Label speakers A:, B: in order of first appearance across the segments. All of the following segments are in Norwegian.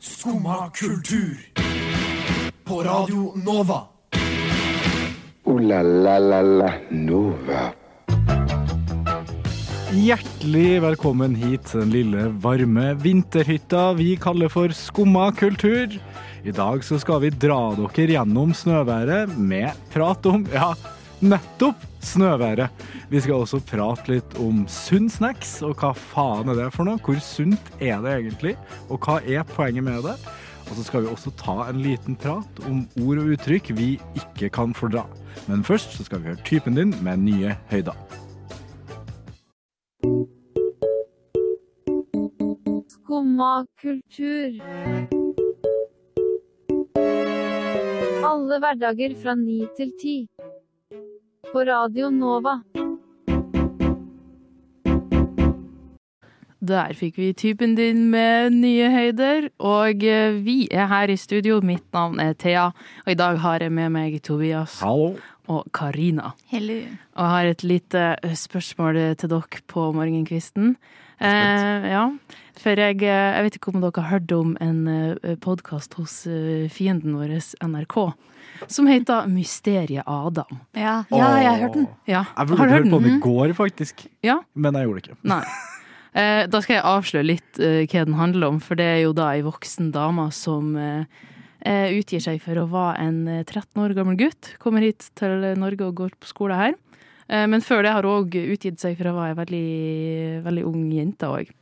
A: Skumma kultur. På Radio Nova.
B: Ooh la la la la Nova.
C: Hjertelig velkommen hit til den lille, varme vinterhytta vi kaller for Skumma kultur. I dag så skal vi dra dere gjennom snøværet med prat om ja, nettopp snøværet. Vi skal også prate litt om sunn snacks, og hva faen er det for noe? Hvor sunt er det egentlig, og hva er poenget med det? Og så skal vi også ta en liten prat om ord og uttrykk vi ikke kan fordra. Men først så skal vi høre typen din med nye høyder.
D: Skumma kultur. Alle hverdager fra ni til ti. På Radio Nova.
E: Der fikk vi typen din med nye høyder, og eh, vi er her i studio. Mitt navn er Thea, og i dag har jeg med meg Tobias
C: Hallo.
E: og Karina.
F: Hello.
E: Og jeg har et lite eh, spørsmål til dere på morgenkvisten. Eh, ja, for jeg, eh, jeg vet ikke om dere har hørt om en eh, podkast hos eh, fienden vår, NRK, som heter Mysteriet Adam.
F: Ja, ja jeg har hørt den.
E: Ja,
C: Jeg burde hørt på den i går, faktisk.
E: Ja.
C: Men jeg gjorde det ikke.
E: Nei. Eh, da skal jeg avsløre litt eh, hva den handler om, for det er jo da ei voksen dame som eh, eh, utgir seg for å være en eh, 13 år gammel gutt. Kommer hit til Norge og går på skole her. Eh, men før det har hun òg utgitt seg for å være ei veldig, veldig ung jente òg.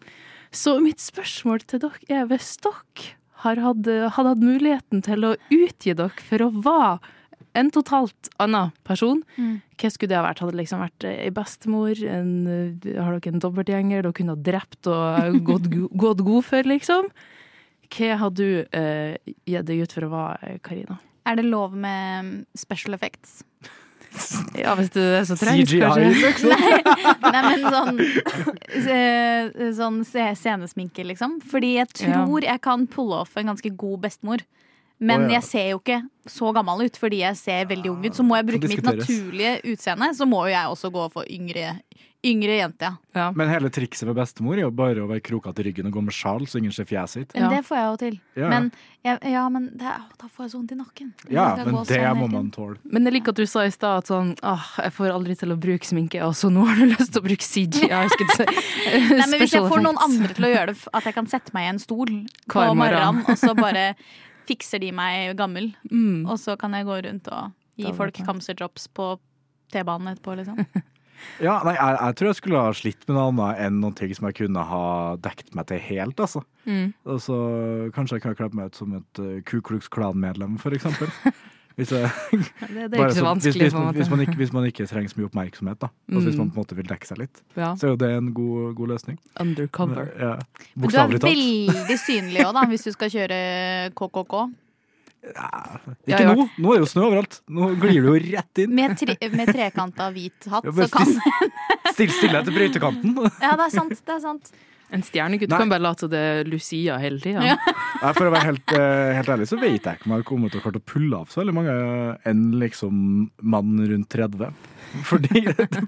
E: Så mitt spørsmål til dere er hvis dere har hatt, hadde hatt muligheten til å utgi dere for å være en totalt annen person, hva skulle det ha vært? Hadde det liksom vært ei bestemor? En, eh, har dere en dobbeltgjenger dere kunne ha drept og eh, gått, go- gått god for, liksom? Hva har du eh, gitt deg ut for å være, eh, Karina?
F: Er det lov med um, special effects?
E: Ja, hvis det er så trengt,
C: CGI,
E: kanskje.
C: liksom.
F: Nei, men sånn, eh, sånn se- scenesminke, liksom. Fordi jeg tror jeg kan pulle off en ganske god bestemor. Men
C: Å, ja.
F: jeg ser jo ikke så gammel ut fordi jeg ser veldig ung ut. Så må jeg
C: Ah, Kan
F: bruke mitt
C: diskuteres.
F: naturlige utseende, så må jo jeg også gå for yngre, yngre jente. Ja.
E: Ja.
C: Men hele trikset for bestemor er jo bare å være krokete i ryggen og gå med sjal, så ingen ser fjeset sitt.
F: Men
E: Ja.
F: det får jeg jo til.
C: Ja, ja.
F: Men, jeg, ja, men det, er- å, da får jeg så vondt i nakken.
C: Ja, men
F: Jeg skal gå
C: det
F: sånn
C: må
F: hele
C: man
F: tiden.
C: tåle.
E: Men jeg liker at du sa i stad at sånn Åh, jeg får aldri til å bruke sminke, og så nå har du lyst til å bruke CGI. Jeg skulle si.
F: Nei, men Hvis jeg
E: Special
F: får noen
E: effects.
F: andre til å gjøre det, f- at jeg kan sette meg i en stol på
E: Hver morgen.
F: morgenen, og så bare fikser de meg gammel,
E: Mm.
F: og så kan jeg gå rundt
E: Da
F: og gi
E: vet
F: folk
E: jeg.
F: kamserdrops på T-banen etterpå, liksom.
C: Ja, nei, jeg, jeg tror jeg skulle ha slitt med noe annet enn noen ting som jeg kunne ha dekt meg til helt, altså.
E: Mm.
C: altså kanskje jeg kan kle meg ut som et uh, Ku Klux Klan-medlem, for eksempel. Hvis, jeg,
E: Det, det er
C: bare
E: ikke så
C: sånn- hvis,
E: vanskelig,
C: hvis,
E: på en
C: man,
E: måte.
C: hvis, man ikke, hvis man ikke trenger så mye oppmerksomhet, da. Altså, hvis
E: Mm.
C: man på en måte vil dekke seg litt,
E: ja.
C: så er jo det en god, god løsning.
E: Undercover.
C: Ja.
F: Du er
C: Bokstavelig talt.
F: veldig synlig òg, da, hvis du skal kjøre KKK.
E: Ja,
C: Ikke
E: i
C: nå! Nå er jo snø overalt. Nå glir du jo rett inn.
F: Med, tre, med trekanta hvit hatt,
C: Ja, men
F: så kan
C: still- Still stille etter brøytekanten.
F: Ja, det er sant. Det er sant.
E: En stjernegutt
C: Nei.
E: kan bare late som det er Lucia hele tida.
F: Ja.
C: Nei, For å være helt, eh, helt ærlig, så vet jeg ikke om jeg har kommet til å klart å pulle av så veldig mange enn liksom mann rundt 30. Fordi,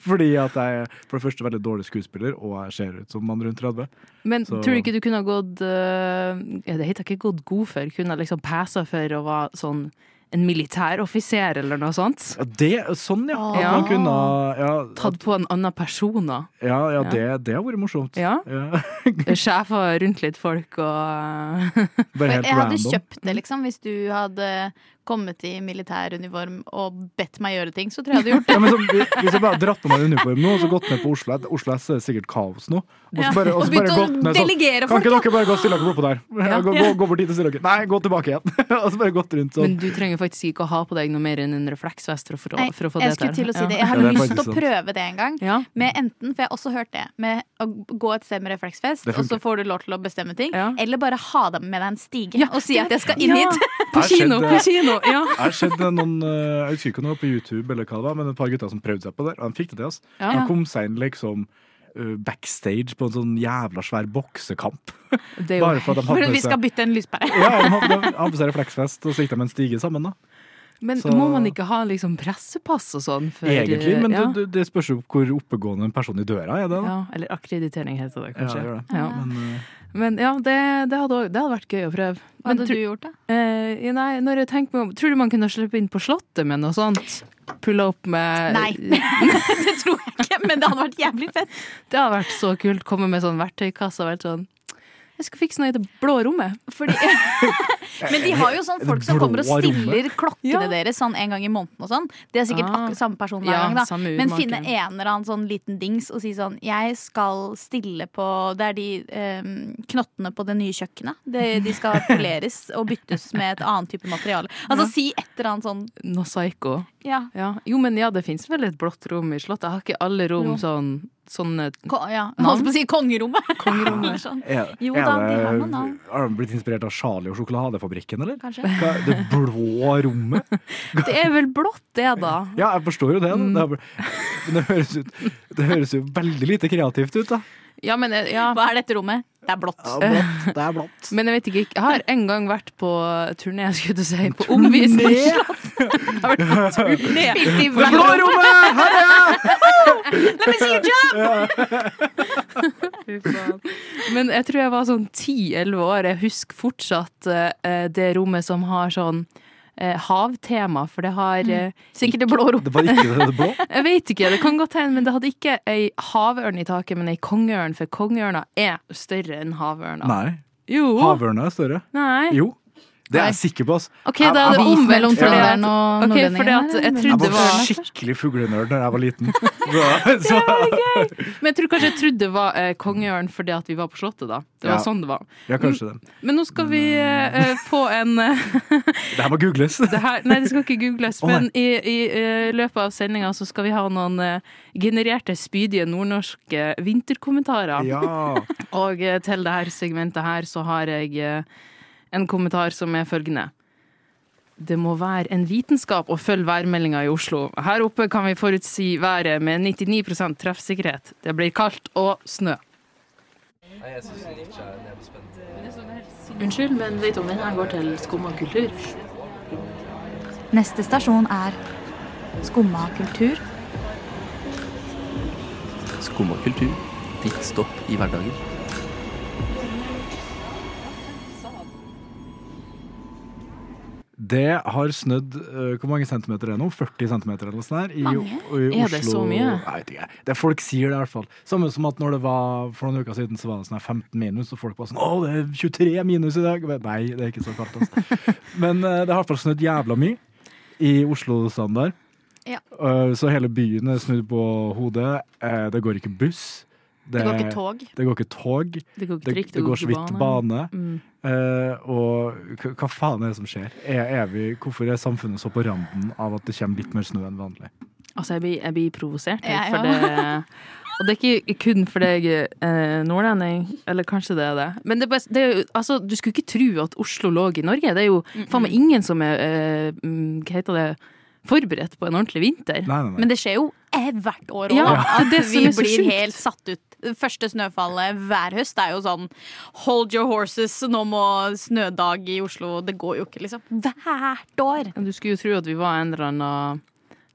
C: fordi at jeg er for det første veldig dårlig skuespiller, og jeg ser ut som mann rundt 30.
E: Men
C: Så-
E: tror du ikke du kunne ha gått eh, ja, Det heter ikke gått god for, kunne ha liksom passa for å være sånn en militæroffiser eller noe sånt?
C: Ja, det, sånn, ja. At
E: Ja.
C: man kunne Ja,
E: Tatt på en annen person da.
C: ja, ja det, det har vært morsomt.
E: Ja.
C: Ja.
E: Sjefa rundt litt folk og eh,
C: Bare helt
F: jeg hadde
C: random.
F: kjøpt det, liksom, hvis du hadde kommet i militær uniform og bedt meg gjøre ting, så tror jeg jeg hadde gjort det.
C: Ja, men så, hvis jeg bare hadde dratt på meg en uniform nå, og så gått ned på Oslo S, Oslo S er det sikkert kaos nå. Og så bare, og
F: Og
C: så bare gått
F: begynt å
C: ned sånn
F: delegere
C: Kan
F: folk.
C: ikke dere bare gå og stille dere bortpå der? Gå, gå, gå bort dit og stille dere. Nei, gå tilbake igjen. og så bare gått rundt sånn.
E: Men du trenger faktisk ikke å ha på deg noe mer enn en refleksvest for å, få-
F: Nei,
E: for å få
F: jeg
E: det
F: skulle til å si
E: Ja.
F: det. Jeg har
C: Ja, det er
F: lyst
C: faktisk
F: til å
C: sant.
F: prøve det en gang.
E: Ja.
F: Med enten, for jeg har også hørt det, med å gå et sted med refleksvest,
C: Det
F: og
C: funker.
F: så får du lov til å bestemme ting.
E: Ja.
F: Eller bare ha dem med deg en stige
E: Ja,
F: og si at jeg skal inn
E: Ja,
F: hit.
E: På
C: Her
E: kino,
C: skjedde-
E: på kino! Ja.
C: Jeg har sett noen eh, Jeg husker ikke om det var på YouTube, eller hva det var men et par gutter som prøvde seg på det. Og de fikk det til. oss
E: Ja.
C: De kom seg inn liksom eh, backstage på en sånn jævla svær boksekamp.
E: Det er jo
C: Bare for at de
F: For
C: hadde
F: vi
C: med
F: skal
C: seg
F: bytte en lyspære.
C: ja, de hadde, de hadde på seg refleksvest, og så gikk de en stige sammen. da
E: Men
C: Så-
E: må man ikke ha liksom pressepass og sånn? for-
C: Egentlig, men
E: ja.
C: det, det spørs jo hvor oppegående en person i døra er. det da
E: ja, Eller akkreditering heter
C: Ja,
E: det
C: det
E: kanskje.
C: gjør det.
E: Ja.
C: Men, eh,
E: Men ja, det, det, hadde, også- det hadde vært gøy å prøve.
F: Hva
E: Men
F: hadde
E: tro-
F: du gjort, da?
E: Eh, nei, når jeg tenker meg om Tror du man kunne slippe inn på Slottet med noe sånt? Pulle opp med
F: Nei. det tror jeg ikke, men det hadde vært jævlig fett.
E: Det hadde vært så kult. Komme med sånn verktøykasse og vært sånn Jeg skal fikse noe i det blå rommet.
F: Fordi, men de har jo sånn folk som
C: Det blå
F: kommer og stiller klokkene
E: Ja.
F: deres sånn en gang i måneden og sånn. Det er sikkert
E: Ah.
F: akkurat samme person hver
E: Ja,
F: gang, da.
E: samme
F: Men
E: urmaker.
F: finne en eller annen sånn liten dings og si sånn Jeg skal stille på Det er de eh, knottene på det nye kjøkkenet. De, de skal poleres og byttes med et annet type materiale. Altså si et eller annet sånn
E: Noe psycho.
F: Ja.
E: Ja. Jo, men ja, det fins vel et blått rom i Slottet. Jeg har ikke alle rom
F: Jo.
E: sånn sånne
F: Ko ja. Holdt på å si kongerommet. Eller
E: kongerommer.
F: sånn.
C: Er,
F: Jo
C: er
F: da, de har
C: det-
F: noen navn.
C: eh, Har de blitt inspirert av Charlie og sjokoladefabrikken, eller?
F: Kanskje.
C: Hva, det blå rommet?
E: Det er vel blått, det, da.
C: Ja, jeg forstår jo det. da. Det, er bare- men det, høres, ut, det høres jo veldig lite kreativt ut, da.
E: Ja, men eh, ja.
F: Hva er dette rommet? Det er blått.
C: blått. Det er blått.
E: Men jeg vet ikke, jeg har en gang vært på turné, skulle du si, på omvisning. Jeg har vært på turné. Spilt i
C: Blå rommet! Her er jeg!
F: Let me see your job!
E: Fy faen. Men jeg tror jeg var sånn 10-11 år. Jeg husker fortsatt eh, det rommet som har sånn eh, havtema, for det har eh,
F: Mm. Sikkert det blå rommet.
C: Det var ikke det, det blå.
E: Jeg vet ikke, det kan godt hende, men det hadde ikke ei havørn i taket, men ei kongeørn, for kongeørna er større enn havørna.
C: Nei.
E: Jo.
C: Havørna er større.
E: Nei.
C: Jo. Det er
E: Nei.
C: jeg sikker på. ass.
E: OK,
C: Jeg-
E: da er
C: jeg
E: det
C: var-
F: Vis mellom
E: omvendt. for det at-
F: trønderen og
E: Ok,
F: nordlendingen
E: for det at
F: her,
E: jeg
F: eller?
E: trodde
C: Jeg
E: det
C: var
E: var
C: skikkelig fuglenerd da jeg var liten. Så, så,
E: Men jeg tror kanskje jeg trodde det var eh, kongeørn fordi at vi var på Slottet, da. Det var
C: Ja. Mm.
E: sånn det var.
C: ja, kanskje det.
E: Men nå skal vi eh, få en eh,
C: Det her må googles.
E: det her, Nei, det skal ikke googles,
C: Å, nei.
E: men i, i eh, løpet av sendinga så skal vi ha noen eh, genererte, spydige nordnorske vinterkommentarer.
C: Ja.
E: Og eh, til det her segmentet her så har jeg eh, en kommentar som er følgende. Det må være en vitenskap å følge værmeldinga i Oslo. Her oppe kan vi forutsi været med 99 treffsikkerhet. Det blir kaldt og snø. sånn Unnskyld, men vet om den her går til skum og kultur?
F: Neste stasjon er Skumma kultur.
G: Skumma kultur. Ditt stopp i hverdagen.
C: Det har snødd eh, Hvor mange centimeter er det nå? 40 centimeter eller noe sånt? der, I,
F: Mange?
C: i Oslo.
E: Er det så mye?
C: Nei, jeg vet ikke. Det er folk sier det, i hvert fall. Samme som at når det var for noen uker siden, så var det sånn her 15 minus, og folk var sånn Å, det er 23 minus i dag! Men, nei, det er ikke så kaldt, altså. Men eh, det har i hvert fall snødd jævla mye i Oslo-standard.
F: Ja.
C: Eh, så hele byen er snudd på hodet. Eh, det går ikke buss.
F: Det
E: Eh.
F: går ikke tog.
C: Det går ikke tog.
E: Det går ikke
C: Det,
E: trygt.
C: det går så vidt bane. Eh, og hva- hva faen er det som skjer? Er, er vi, hvorfor er samfunnet så på randen av at det kommer litt mer snø enn vanlig?
E: Altså, jeg blir, jeg blir provosert.
F: Ja,
E: For
F: ja.
E: det, og det er ikke kun fordi jeg er eh, nordlending, eller kanskje det er det. Men det, er bare- det er jo, altså, du skulle ikke tro at Oslo lå i Norge. Det er jo faen meg ingen som er eh, mm, Hva heter det? Forberedt på en ordentlig vinter.
C: Nei, nei, nei.
F: Men det skjer jo eh, hvert år òg.
E: Ja,
F: at
E: det er det som
F: vi
E: er så
F: blir
E: sjukt.
F: helt satt ut. Det Første snøfallet hver høst er jo sånn Hold your horses, nå må snødag i Oslo. Det går jo ikke, liksom. Hvert år.
E: Du skulle jo tro at vi var en eller annen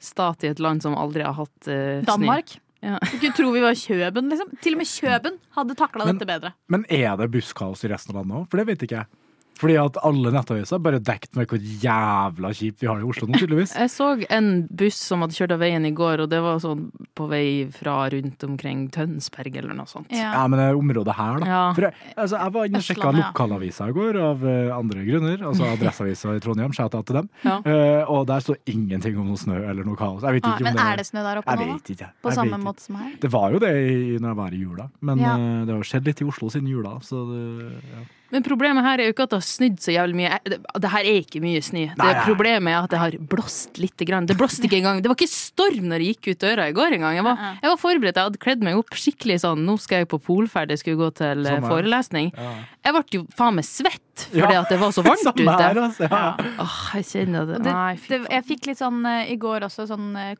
E: stat i et land som aldri har hatt eh,
F: Danmark.
E: Ja.
F: Du kunne tro vi var Kjøben, liksom. Til og med Kjøben hadde takla
C: Men-
F: dette bedre.
C: Men er det busskaos i resten av landet òg? For det vet ikke jeg. Fordi at alle nettaviser er bare dekt med hvor jævla kjipt vi har det i Oslo nå, tydeligvis.
E: Jeg så en buss som hadde kjørt av veien i går, og det var sånn på vei fra rundt omkring Tønsberg eller noe sånt.
C: Ja, men det er området her, da.
E: Ja.
C: For jeg, altså, jeg var inne og sjekka
F: Østlandet, ja.
C: lokalavisa i går, av eh, andre grunner. Altså Adresseavisa i Trondheim, shout out til dem.
E: Ja.
C: Eh, og der står ingenting om noe snø eller noe kaos. Jeg vet ikke
F: Ah,
C: om
F: men
C: det
F: er det snø der oppe
C: Jeg
F: nå, da?
C: vet ikke.
F: På
C: jeg vet
F: samme
C: ikke.
F: måte som her?
C: Det var jo det i, når jeg var i jula, men
F: Ja.
C: eh, det har jo skjedd litt i Oslo siden jula. Så det, ja.
E: Men problemet her er jo ikke at det har snudd så jævlig mye. Jeg- Det, det her er ikke mye snø.
C: Nei, nei.
E: Det Problemet er at det har blåst litt. Grann. Det blåste ikke engang. Det var ikke storm når jeg gikk ut døra i går engang. Jeg, var- jeg var forberedt, jeg hadde kledd meg opp skikkelig sånn. Nå skal jeg på polferd, jeg skulle gå til eh,
C: Samme her.
E: forelesning. Jeg ble jo faen meg svett fordi
C: Ja.
E: at det var så varmt
C: Samme her,
E: ute.
C: altså. Ja.
E: Åh, jeg kjenner det.
F: Og Det,
E: Nei, fy
F: det, jeg fikk litt sånn eh, i går også sånn eh,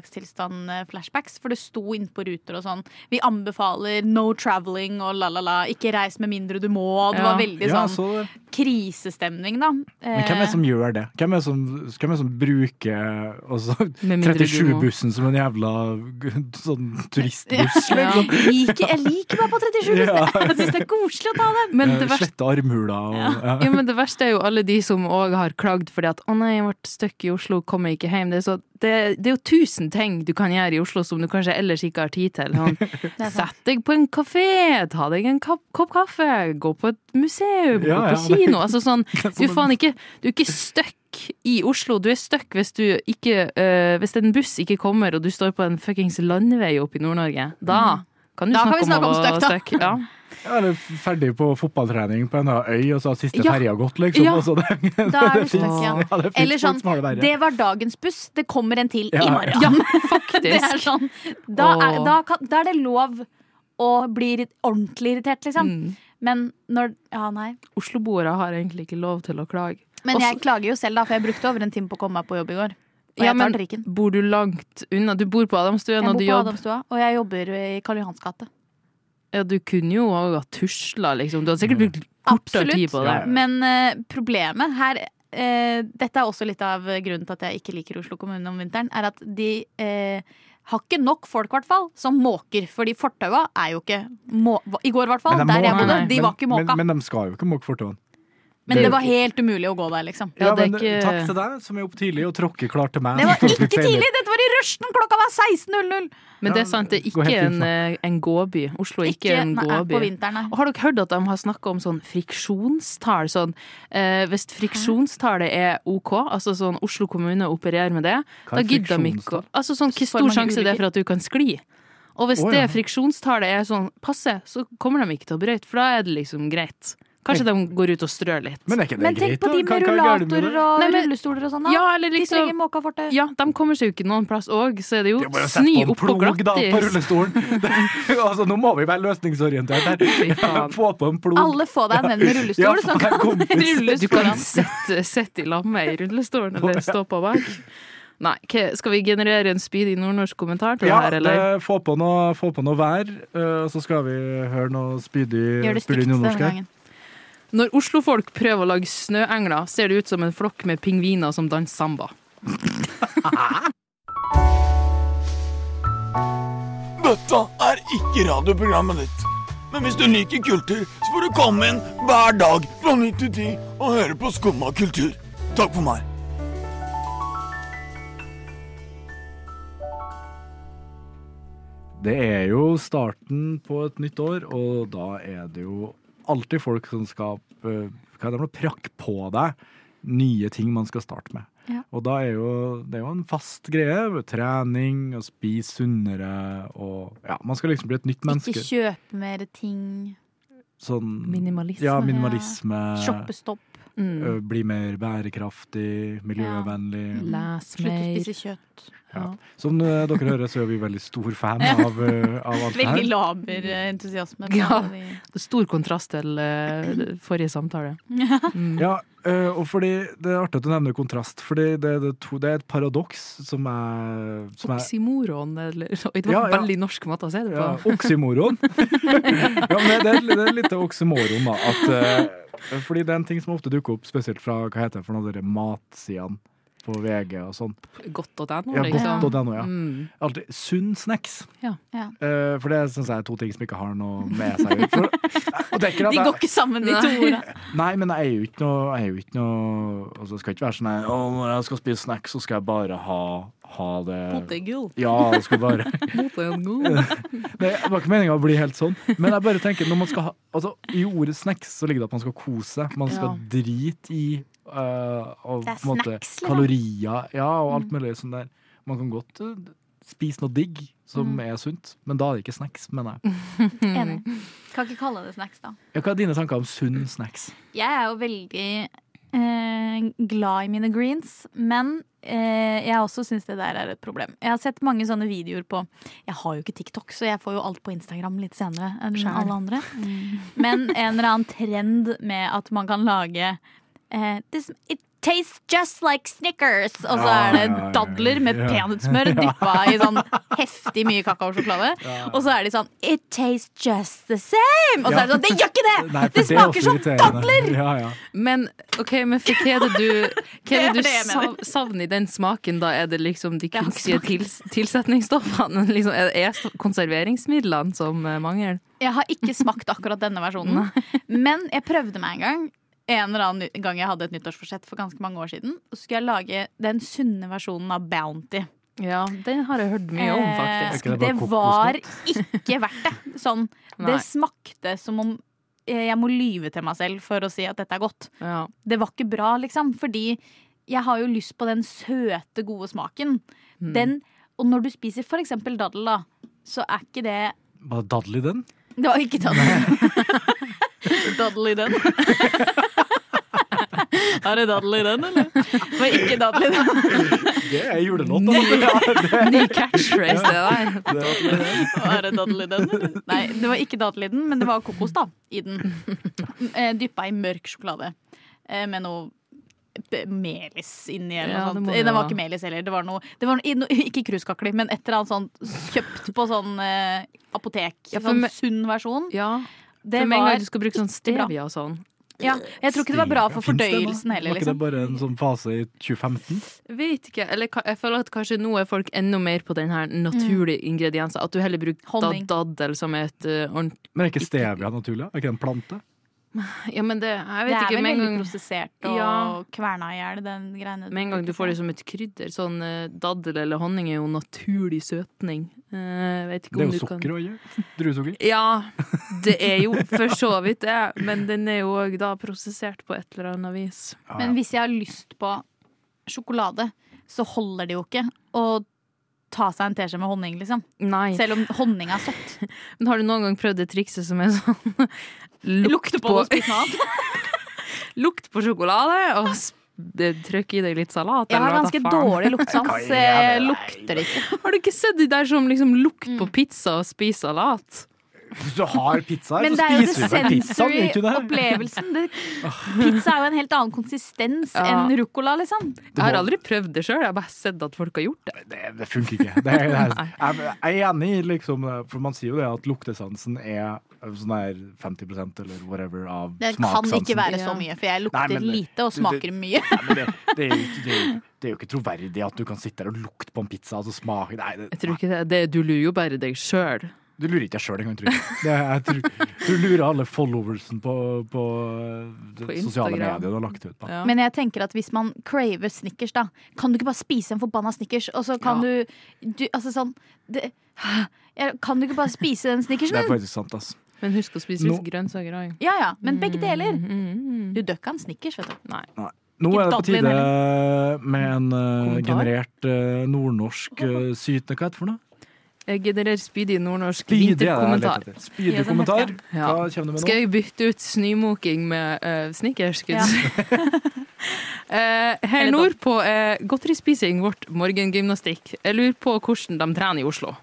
F: covid-unntakstilstand-flashbacks. For det sto inne på ruter og sånn. Vi anbefaler no traveling og la-la-la. Ikke reis med mindre du må. Det
E: Ja.
F: var veldig
C: Ja,
F: sånn
C: så det.
F: krisestemning, da. Eh,
C: Men hvem er det som gjør det? Hvem er det som, hvem er det som bruker altså,
E: Med mindre du må-
C: 37-bussen som en jævla g- sånn turistbuss?
E: Ja.
F: Eh, liker, jeg liker meg på 37 bussen!
C: Ja.
F: Jeg syns det er koselig å ta den!
E: Men
C: Eh,
E: det verste
C: Slette armhuler og ja.
E: Ja, men det verste er jo alle de som òg har klagd fordi at 'Å nei, jeg ble stuck i Oslo, kom meg ikke hjem'. Det er, så, det, det er jo tusen ting du kan gjøre i Oslo som du kanskje ellers ikke har tid til. Sånn,
F: er sant.
E: Sett deg på en kafé, ta deg en kopp, kopp kaffe, gå på et museum,
C: Ja,
E: gå
C: ja,
E: på
C: men-
E: kino. Altså sånn,
C: er
E: du,
C: som
E: er faen ikke, du er ikke stuck i Oslo. Du er stuck hvis du ikke øh, Hvis en buss ikke kommer, og du står på en fuckings landevei oppe i Nord-Norge. Da kan du
F: Mm. Da kan
E: snakke,
F: vi snakke
E: om,
F: om
E: å
F: stuck, da.
E: være stuck. Ja.
C: Ja, Eller ferdig på fotballtrening på en eller annen øy, og så har siste
F: Ja.
C: ferja gått, liksom.
E: Ja.
C: Og så det,
F: Da er du
C: det
F: stuck
C: finnes-
F: igjen.
C: Ja, det finnes
F: Eller sånn
C: folk som har det verre.
F: Det var dagens buss, det kommer en til
C: Ja,
F: i
C: ja.
F: morgen.
E: Ja,
F: Det er
E: faktisk.
F: sånn, da, er,
E: Åh.
F: da, kan, da er det lov å bli irrit- ordentlig irritert, liksom.
E: Mm.
F: Men når Ja, nei.
E: Osloboere har egentlig ikke lov til å klage.
F: Men jeg
E: Også-
F: klager jo selv, da, for jeg brukte over en time på å komme meg på jobb i går. Og
E: Ja,
F: jeg tar
E: men
F: trikken.
E: bor du langt unna? Du bor på
F: Jeg
E: Adamstuen,
F: bor
E: og du
F: på
E: jobber
F: Adamstua, og jeg jobber i Karl Johans gate.
E: Ja, du kunne jo òg ha tusla, liksom. Du hadde sikkert brukt kortere
F: Absolutt.
E: tid på det.
F: Men eh, problemet her eh, Dette er også litt av grunnen til at jeg ikke liker Oslo kommune om vinteren. Er at de eh, har ikke nok folk, hvert fall, som måker. Fordi fortaua er jo ikke må I går, i hvert fall.
C: Men de
F: Der jeg
C: må-
F: bodde.
E: nei, nei,
F: De var ikke måka.
C: Men,
F: Men,
C: men de skal jo ikke måke fortauene.
E: det-
F: det var helt umulig å gå der, liksom.
E: Ja, det er
C: men
E: ikke-
C: Takk til deg som er opp tidlig og tråkker klart til meg.
F: Det var
C: som står
F: ikke
C: litt senere.
F: tidlig! Dette var i rushtiden! Klokka var 16.00!
E: Men det
C: Ja,
E: er sant, det er
C: det går
E: ikke
C: helt
E: en,
C: fint,
E: eh, en gåby. Oslo er ikke,
F: Ikke
E: en
F: nei, på
E: gåby.
F: vinteren,
E: Og
F: nei.
E: har dere hørt at de har snakka om sånn friksjonstall? Sånn, eh, hvis friksjonstallet er OK, altså sånn Oslo kommune opererer med det,
C: Hva
E: da
C: er
E: gidder de ikke å
C: friksjonstall?
E: Altså sånn, hvor
F: For
E: stor
F: mange
E: sjanse det er
F: ulykker.
E: for at du kan skli? Og hvis
C: Å, ja.
E: det friksjonstallet er sånn passe, så kommer de ikke til å brøyte, for da er det liksom greit. Kanskje de går ut og strør litt.
C: Men er ikke det
F: Men tenk
C: greit,
F: på
C: da?
F: de
C: Hva-
F: med
C: hva er galt med
F: rullatorer
C: det?
F: og
E: Nei, men-
F: rullestoler og sånn, da.
E: ja, eller
F: De trenger
E: liksom
F: måka fortau.
E: ja, De kommer seg jo ikke noen plass òg, så er det jo
C: Det er bare å sette
E: snø
C: på en
E: oppå
C: plog, da, på
E: glattis.
C: rullestolen. Det, altså, nå må vi være løsningsorientert
E: Fy
C: her.
E: faen.
C: Få på en plog.
F: Alle få deg en venn med
C: Ja,
F: rullestol,
C: få
F: som
C: deg en
F: kan
C: kompis.
F: rulles
E: Du kan
F: foran.
E: sitte sitte i lag med i rullestolen eller stå på bak. Nei, hva- skal vi generere en spydig nordnorsk kommentar til
C: Ja, eh,
E: det her, eller?
C: det- få, på noe, få på noe vær, eh, og så skal vi høre noe spydig
F: Gjør
C: spydig
F: det stygt denne
C: nordnorsk her.
F: gangen.
E: Når oslofolk prøver å lage snøengler, ser det ut som en flokk med pingviner som danser samba.
A: Dette er ikke radioprogrammet ditt. Men hvis du liker kultur, så får du komme inn hver dag fra 9 til 10 og høre på Skumma kultur. Takk for meg.
C: Det er jo starten på et nytt år, og da er det jo alltid folk som skal eh, hva er det, for noe, prakke på deg nye ting man skal starte med.
F: Ja.
C: Og da er jo, det er jo en fast greie. med Trening og spise sunnere og Ja, man skal liksom bli et nytt menneske.
F: Ikke kjøpe mer ting.
C: Sånn
E: Minimalisme.
C: Ja, minimalisme.
F: Shoppestopp.
E: Mm.
C: ø, Bli mer bærekraftig, miljøvennlig.
E: Les
F: Slutte å
E: mer.
F: spise kjøtt.
E: Ja.
C: Som ø, dere hører, så er vi veldig stor fan av, ø, av alt det
F: Veldig
C: her.
F: laber eh, entusiasme. på
E: Ja.
F: alle de-
E: Stor kontrast til eh, forrige samtale.
C: Ja, ø, og fordi Det er artig at du nevner kontrast, fordi det, det, to, det er et paradoks som er, som er
E: Oxymoron, eller Oi, det var
C: Ja,
E: en
C: ja.
E: veldig norsk måte å si det på.
C: ja, Oksymoron. ja, men det, er- det er litt av oksymoron, da. At, ø, fordi det er en ting som ofte dukker opp, spesielt fra hva heter det for noe, av dere matsidene på VG og sånn.
E: Godt.no,
C: Ja,
E: liksom.
C: godt.no, ja.
E: Mm.
C: Alltid sunn snacks.
E: Ja.
F: Ja.
C: Eh, for det syns jeg er to ting som ikke har noe med seg å gjøre. For- og det er ikke at
F: De
C: jeg-
F: går ikke sammen, de to
E: Nei.
F: orda.
C: Nei, men jeg er jo ikke noe, jeg er jo ikke noe altså, Det skal ikke være sånn her, «Å, Når jeg skal spise snacks, så skal jeg bare ha, ha det
F: Potegull.
C: Ja, det skal bare Nei, Det var ikke meninga å bli helt sånn. Men jeg bare tenker, når man skal ha altså, i ordet snacks så ligger det at man skal kose seg. Man skal
E: Ja.
C: drite i eh, og,
F: Det er
C: på en måte,
F: snacks, liksom. Mm.
C: kalorier ja, og alt mulig sånn der. Man kan godt eh, spise noe digg som
F: Mm.
C: er sunt, men da er det ikke snacks, mener jeg.
F: Enig. Kan ikke kalle det snacks, da.
C: Ja, hva er dine tanker om sunn snacks?
F: Jeg er jo veldig eh, glad i mine greens, men eh, jeg også syns det der er et problem. Jeg har sett mange sånne videoer på Jeg har jo ikke TikTok, så jeg får jo alt på Instagram litt senere enn
E: Skjønner.
F: alle andre. Men en eller annen trend med at man kan lage eh, det, som- et Tastes just like Snickers! Og så
C: Ja,
F: er det
C: ja, ja, ja.
F: dadler med
C: Ja.
F: peanøttsmør dyppa i sånn heftig mye kakaosjokolade. Og så er de sånn It tastes just the same! Og så
C: Ja.
F: er det sånn Det gjør ikke det!
C: Nei, for
F: det
C: er også
F: smaker som
C: irriterende.
F: dadler!
C: Ja, ja.
E: Men ok, men for hva er det du, hva er det
F: Det er det
E: du
F: jeg mener.
E: sav, savner i den smaken? da? Er det liksom de
F: har ikke
E: kunstige tils, tilsetningsstoffene? Liksom, er det er sto- konserveringsmidlene som eh, mangler?
F: Jeg har ikke smakt akkurat denne versjonen. Men jeg prøvde meg en gang. En eller annen gang jeg hadde et nyttårsforsett for ganske mange år siden. Så skulle jeg lage den sunne versjonen av Bounty.
E: Ja, den har jeg hørt mye om, faktisk.
C: Er ikke det
F: Eh,
C: bare
F: det var
C: kokosnøtt?
F: ikke verdt det. Sånn,
E: Nei.
F: det smakte som om eh, jeg må lyve til meg selv for å si at dette er godt.
E: Ja.
F: Det var ikke bra, liksom. Fordi jeg har jo lyst på den søte, gode smaken.
E: Mm.
F: Den, og når du spiser for eksempel daddel, da, så er ikke det
C: Var det dadler i den?
F: Det var ikke daddel. daddel i den. Er det daddel i den, eller? Det var ikke daddel i den.
C: Det er julelåt, da.
E: Ny catchphrase, det der.
F: Er det daddel i den, eller? Nei, det var ikke daddel i den, men det var kokos da, i den. Eh, Dyppa i mørk sjokolade eh, med noe b- melis inni eller
E: Ja, det
F: noe sånt.
E: må det
F: Det, det var
E: være.
F: ikke melis heller. Det var noe, det var noe, i- no, ikke kruskakler, men et eller annet sånt kjøpt på sånn eh, apotek.
E: Ja, for
F: sånn
E: me-
F: sunn versjon.
E: Ja,
F: Det
E: for med en
F: var,
E: gang du skal bruke sånn
F: ikke bra.
E: stevia og sånn.
F: ja, jeg tror ikke det var bra for
C: Finnes det, da?
F: fordøyelsen heller,
C: Var ikke
F: liksom.
C: det bare en sånn fase i 2015?
E: Vet ikke, eller ka- jeg føler at kanskje nå er folk enda mer på den her naturlige ingredienser. At du heller bruker
F: Honning.
E: dad daddel som et eh, ordentlig
C: Men er ikke stevia naturlig? da? Er ikke det en plante?
E: Ja, men det Jeg
F: Det
E: vet
F: er
E: ikke.
F: vel
E: Med en
F: veldig
E: gang
F: prosessert og
E: Ja.
F: kverna i hjel, den greiene.
E: Med en gang du får det som et krydder. Sånn eh, daddel eller honning er jo naturlig søtning. Eh, vet ikke
C: Det
E: om
C: er jo
E: du kan-
C: sukker òg, ikke? Druesukker.
E: Ja, det er jo for så vidt det, men den er jo òg da prosessert på et eller annet vis.
C: Ja,
F: Men hvis jeg har lyst på sjokolade, så holder det jo ikke å ta seg en teskje med honning, liksom.
E: Nei.
F: Selv om honning er søtt.
E: Men har du noen gang prøvd det trikset som er sånn
F: Lukte på det og spise noe annet.
E: lukt på sjokolade, og sp- det- trykk i deg litt salat?
F: Jeg har
E: eller hva da
F: ganske
E: faen?
F: dårlig luktesans. så Jeg lukter ikke.
E: Har du ikke sett de der som liksom lukter på pizza og spiser salat?
C: Hvis du har pizza her,
F: Men det
C: så
F: er jo
C: spiser du
F: det
C: vel pizzaen, gjør Sånn ikke
F: sensory
C: du det?
F: opplevelsen. Det, pizza er jo en helt annen konsistens
E: Ja.
F: enn ruccola, liksom.
E: Jeg har aldri prøvd det sjøl, jeg har bare sett at folk har gjort det.
C: Det, det funker ikke. Det er, det er, jeg, jeg er enig i liksom det, for man sier jo det at luktesansen er sånn der 50 eller whatever av
F: Det kan
C: smakssansen.
F: ikke være så
E: Ja.
F: mye, for jeg
C: Nei,
F: lukter
C: men det-
F: lite og
C: det-
F: smaker mye.
C: Nei, men det, det, er jo ikke, det, er jo- det er jo ikke troverdig at du kan sitte der og lukte på en pizza og så smake Nei, det,
E: Jeg tror ikke det, det du lurer jo bare deg sjøl.
C: du lurer ikke deg sjøl engang, tror jeg. Det, jeg tror, du lurer alle followersen på, på, det
E: På
C: sosiale medier
E: Instagram.
C: du har lagt ut. Da.
E: Ja.
F: Men jeg tenker at hvis man craver Snickers, da, kan du ikke bare spise en forbanna Snickers? Og så kan du, du Altså sånn det, Ja, Kan du ikke bare spise den
C: Det er
F: Snickersen?
C: faktisk sant, ass.
E: Men husk å spise litt
C: Nå-
E: grønnsaker òg.
F: Ja ja, men begge deler.
E: Mm,
F: Du døkka en Snickers, vet du.
C: Nå
F: Ikke
C: er det på
F: dadler,
C: tide med en eh,
E: Kommentar?
C: generert eh, nordnorsk uh, sytende Hva heter det for noe?
E: Jeg genererer spydig nordnorsk
C: Spydig er det jeg leter
E: vinterkommentar.
C: etter.
F: Ja,
C: Spydig
F: den
C: kommentar.
F: heter
E: Ja.
C: Hva kommer du med nå?
E: Skal jeg bytte ut snømoking med eh, snickers? skulle jeg si? Eh, her
F: Eller bob.
E: nordpå er godterispising vårt morgengymnastikk. Jeg lurer på hvordan de trener i Oslo.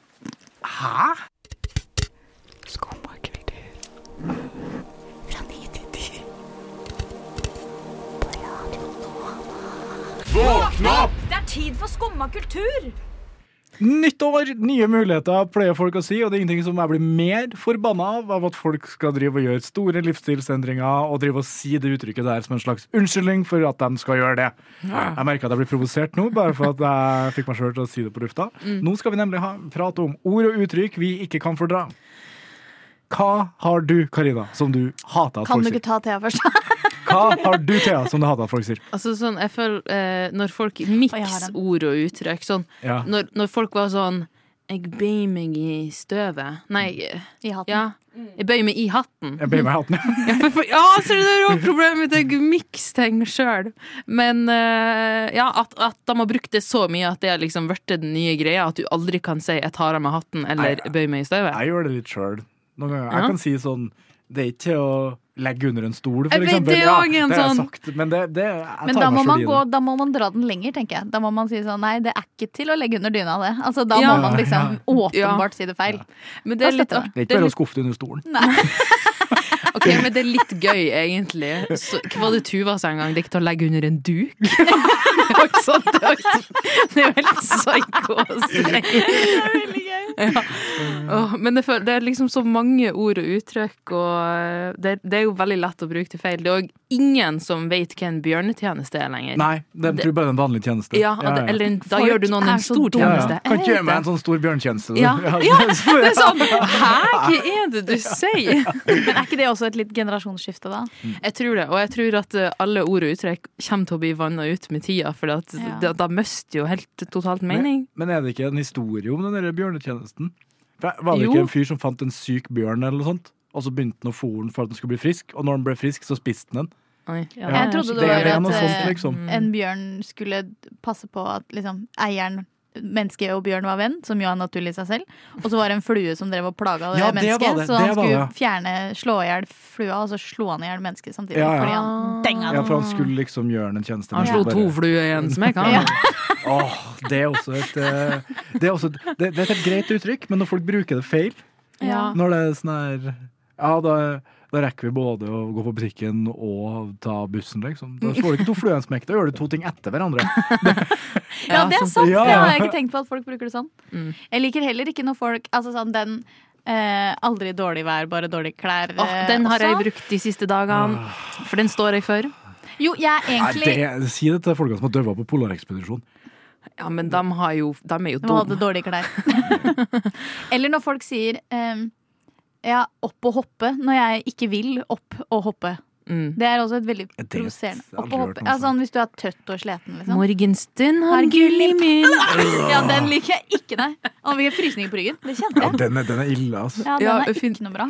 F: Det er tid for skumma kultur!
C: Nytt år, nye muligheter, pleier folk å si, og det er ingenting som jeg blir mer forbanna av av at folk skal drive og gjøre store livsstilsendringer og drive og si det uttrykket der som en slags unnskyldning for at de skal gjøre det. Jeg merker at jeg blir provosert nå, bare for at jeg fikk meg sjøl til å si det på lufta.
F: Mm.
C: Nå skal vi nemlig ha, prate om ord og uttrykk vi ikke kan fordra. Hva har du, Karina, som du hater at
F: Kan du
C: folk sier?
F: ikke ta Thea først?
C: Hva har du, Thea, som du hater at folk sier?
E: Altså sånn, jeg føler eh, Når folk
F: Oi, jeg har
E: mikser
F: den.
E: ord og uttrykk sånn,
C: Ja.
E: når, når folk var sånn Jeg bøyer meg i støvet. Nei, eh,
F: I hatten.
E: ja. Jeg bøyer meg i hatten.
C: Jeg bøyer meg i hatten.
E: Ja, for, for, ja så det er jo problemet mitt. Jeg mikster ting sjøl. Men eh, ja, at, at de har brukt det så mye at det har liksom blitt den nye greia. At du aldri kan si 'jeg tar av meg hatten' eller
C: Nei,
E: 'bøy meg i støvet'.
C: Jeg gjør det litt sjøl. Noen ganger.
E: Ja.
C: Jeg kan si sånn Det er ikke til å legge under en stol, for
E: Jeg vet,
C: eksempel.
E: det er
C: Ja,
E: også en
C: det har jeg
E: sånn-
C: sagt, men det, det, jeg
F: Men
C: tar
F: da må,
C: meg
F: man
C: selv i
F: gå,
C: det.
F: da må man dra den lenger, tenker jeg. Da må man si sånn nei, det er ikke til å legge under dyna, det. Altså, da
E: Ja.
F: må man liksom
E: Ja.
F: åpenbart si det feil.
E: Men det er
F: Da
E: litt
F: støtter jeg
E: artig.
C: Det er
E: Det
C: ikke
E: er
C: bare å
E: litt,
C: skuffe det under stolen.
E: Ok, men det er litt gøy, egentlig. Så, hva var det Tuva sa en gang? Det er ikke til å legge under en duk? Det var ikke sånn, det var ikke sånn. Det er jo helt psyko å si.
F: Det er veldig gøy.
E: Åh, men det, føl- det er liksom så mange ord og uttrykk, og eh, det, det er jo veldig lett å bruke til feil. Det er òg ingen som vet hva en bjørnetjeneste er lenger.
C: Nei, de tror bare det er en vanlig tjeneste.
E: Ja, at, Eller en- da
F: Folk
E: gjør du noen
F: er
E: en
F: så
E: stor
C: ja,
F: dumme.
C: ja.
E: tjeneste.
C: Kan ikke
E: Jeg
C: gjøre meg
E: vet
C: en sånn stor bjørntjeneste. du.
E: Ja.
C: det-
E: Det er sånn, hæ, hva er det du sier?
F: Men er ikke det også et litt generasjonsskifte, da?
E: Jeg tror det, og jeg tror at eh, alle ord og uttrykk kommer til å bli vanna ut med tida, for at
F: Ja.
E: da, da mister jo helt totalt mening.
C: Men er det ikke en historie om den der bjørnetjenesten? For var det
E: Jo.
C: ikke en fyr som fant en syk bjørn, eller noe sånt? Og så begynte han å fôre den for at den skulle bli frisk, og når den ble frisk, så spiste den den.
E: Oi, ja,
F: Jeg
E: det
F: trodde
E: er
F: det var
C: er
F: at,
C: noe
F: eh,
C: sånt, liksom.
E: mm.
F: En bjørn skulle passe på at liksom, eieren Mennesket og bjørn var venn, som jo er naturlig i seg selv. Og så var det en flue som drev og plaga det
C: Ja, det
F: mennesket.
C: var det,
F: Så han
C: det var
F: skulle
C: det.
F: fjerne, slå i hjel flua, og så slo han i hjel mennesket samtidig.
C: Ja, ja.
F: Fordi han denga
C: Ja,
F: den.
C: for han skulle liksom gjøre den en tjeneste.
E: Han
C: men
E: slo
C: bare-
E: to fluer i en smekk, han.
F: Ja.
C: Åh, det er også et eh, Det er, også et, det, det er et greit uttrykk, men når folk bruker det feil
E: Ja.
C: Når det er sånn her Ja, da, da rekker vi både å gå på butikken og ta bussen, liksom. Da slår du ikke to fluer i en smekk, da gjør du to ting etter hverandre.
F: Ja, det er
E: sånn.
F: sant!
C: Ja.
F: Det har jeg ikke tenkt på at folk bruker det sånn.
E: Mm.
F: Jeg liker heller ikke når folk Altså sånn den eh, aldri dårlig vær, bare dårlige klær.
E: Åh,
F: eh,
E: den har jeg
F: også.
E: brukt de siste dagene, for den står jeg for.
F: Jo, jeg er
C: Nei,
F: egentlig
C: det, si det til folkene som har døva på polarekspedisjon.
E: Ja, men de, har jo, de er jo
F: Du hadde
E: dumme.
F: dårlige klær. Eller når folk sier ehm, ja, opp og hoppe når jeg ikke vil opp og hoppe.
E: Mm.
F: Det er også et veldig
C: Det
F: provoserende.
C: har jeg
F: Opp
C: aldri
F: og
C: hørt
F: hoppe.
C: noe
F: Ja,
C: sånt.
F: sånn hvis du er tøtt og sliten, liksom.
E: Morgenstund har
F: Har
E: gull i min
F: Ja, den liker jeg ikke, nei. Og vi har frysninger på ryggen. Det kjente
C: Ja,
F: jeg.
C: den er, den er ille, altså.
F: Ja,
E: Ja,
F: den er
E: fin-
F: ikke noe bra.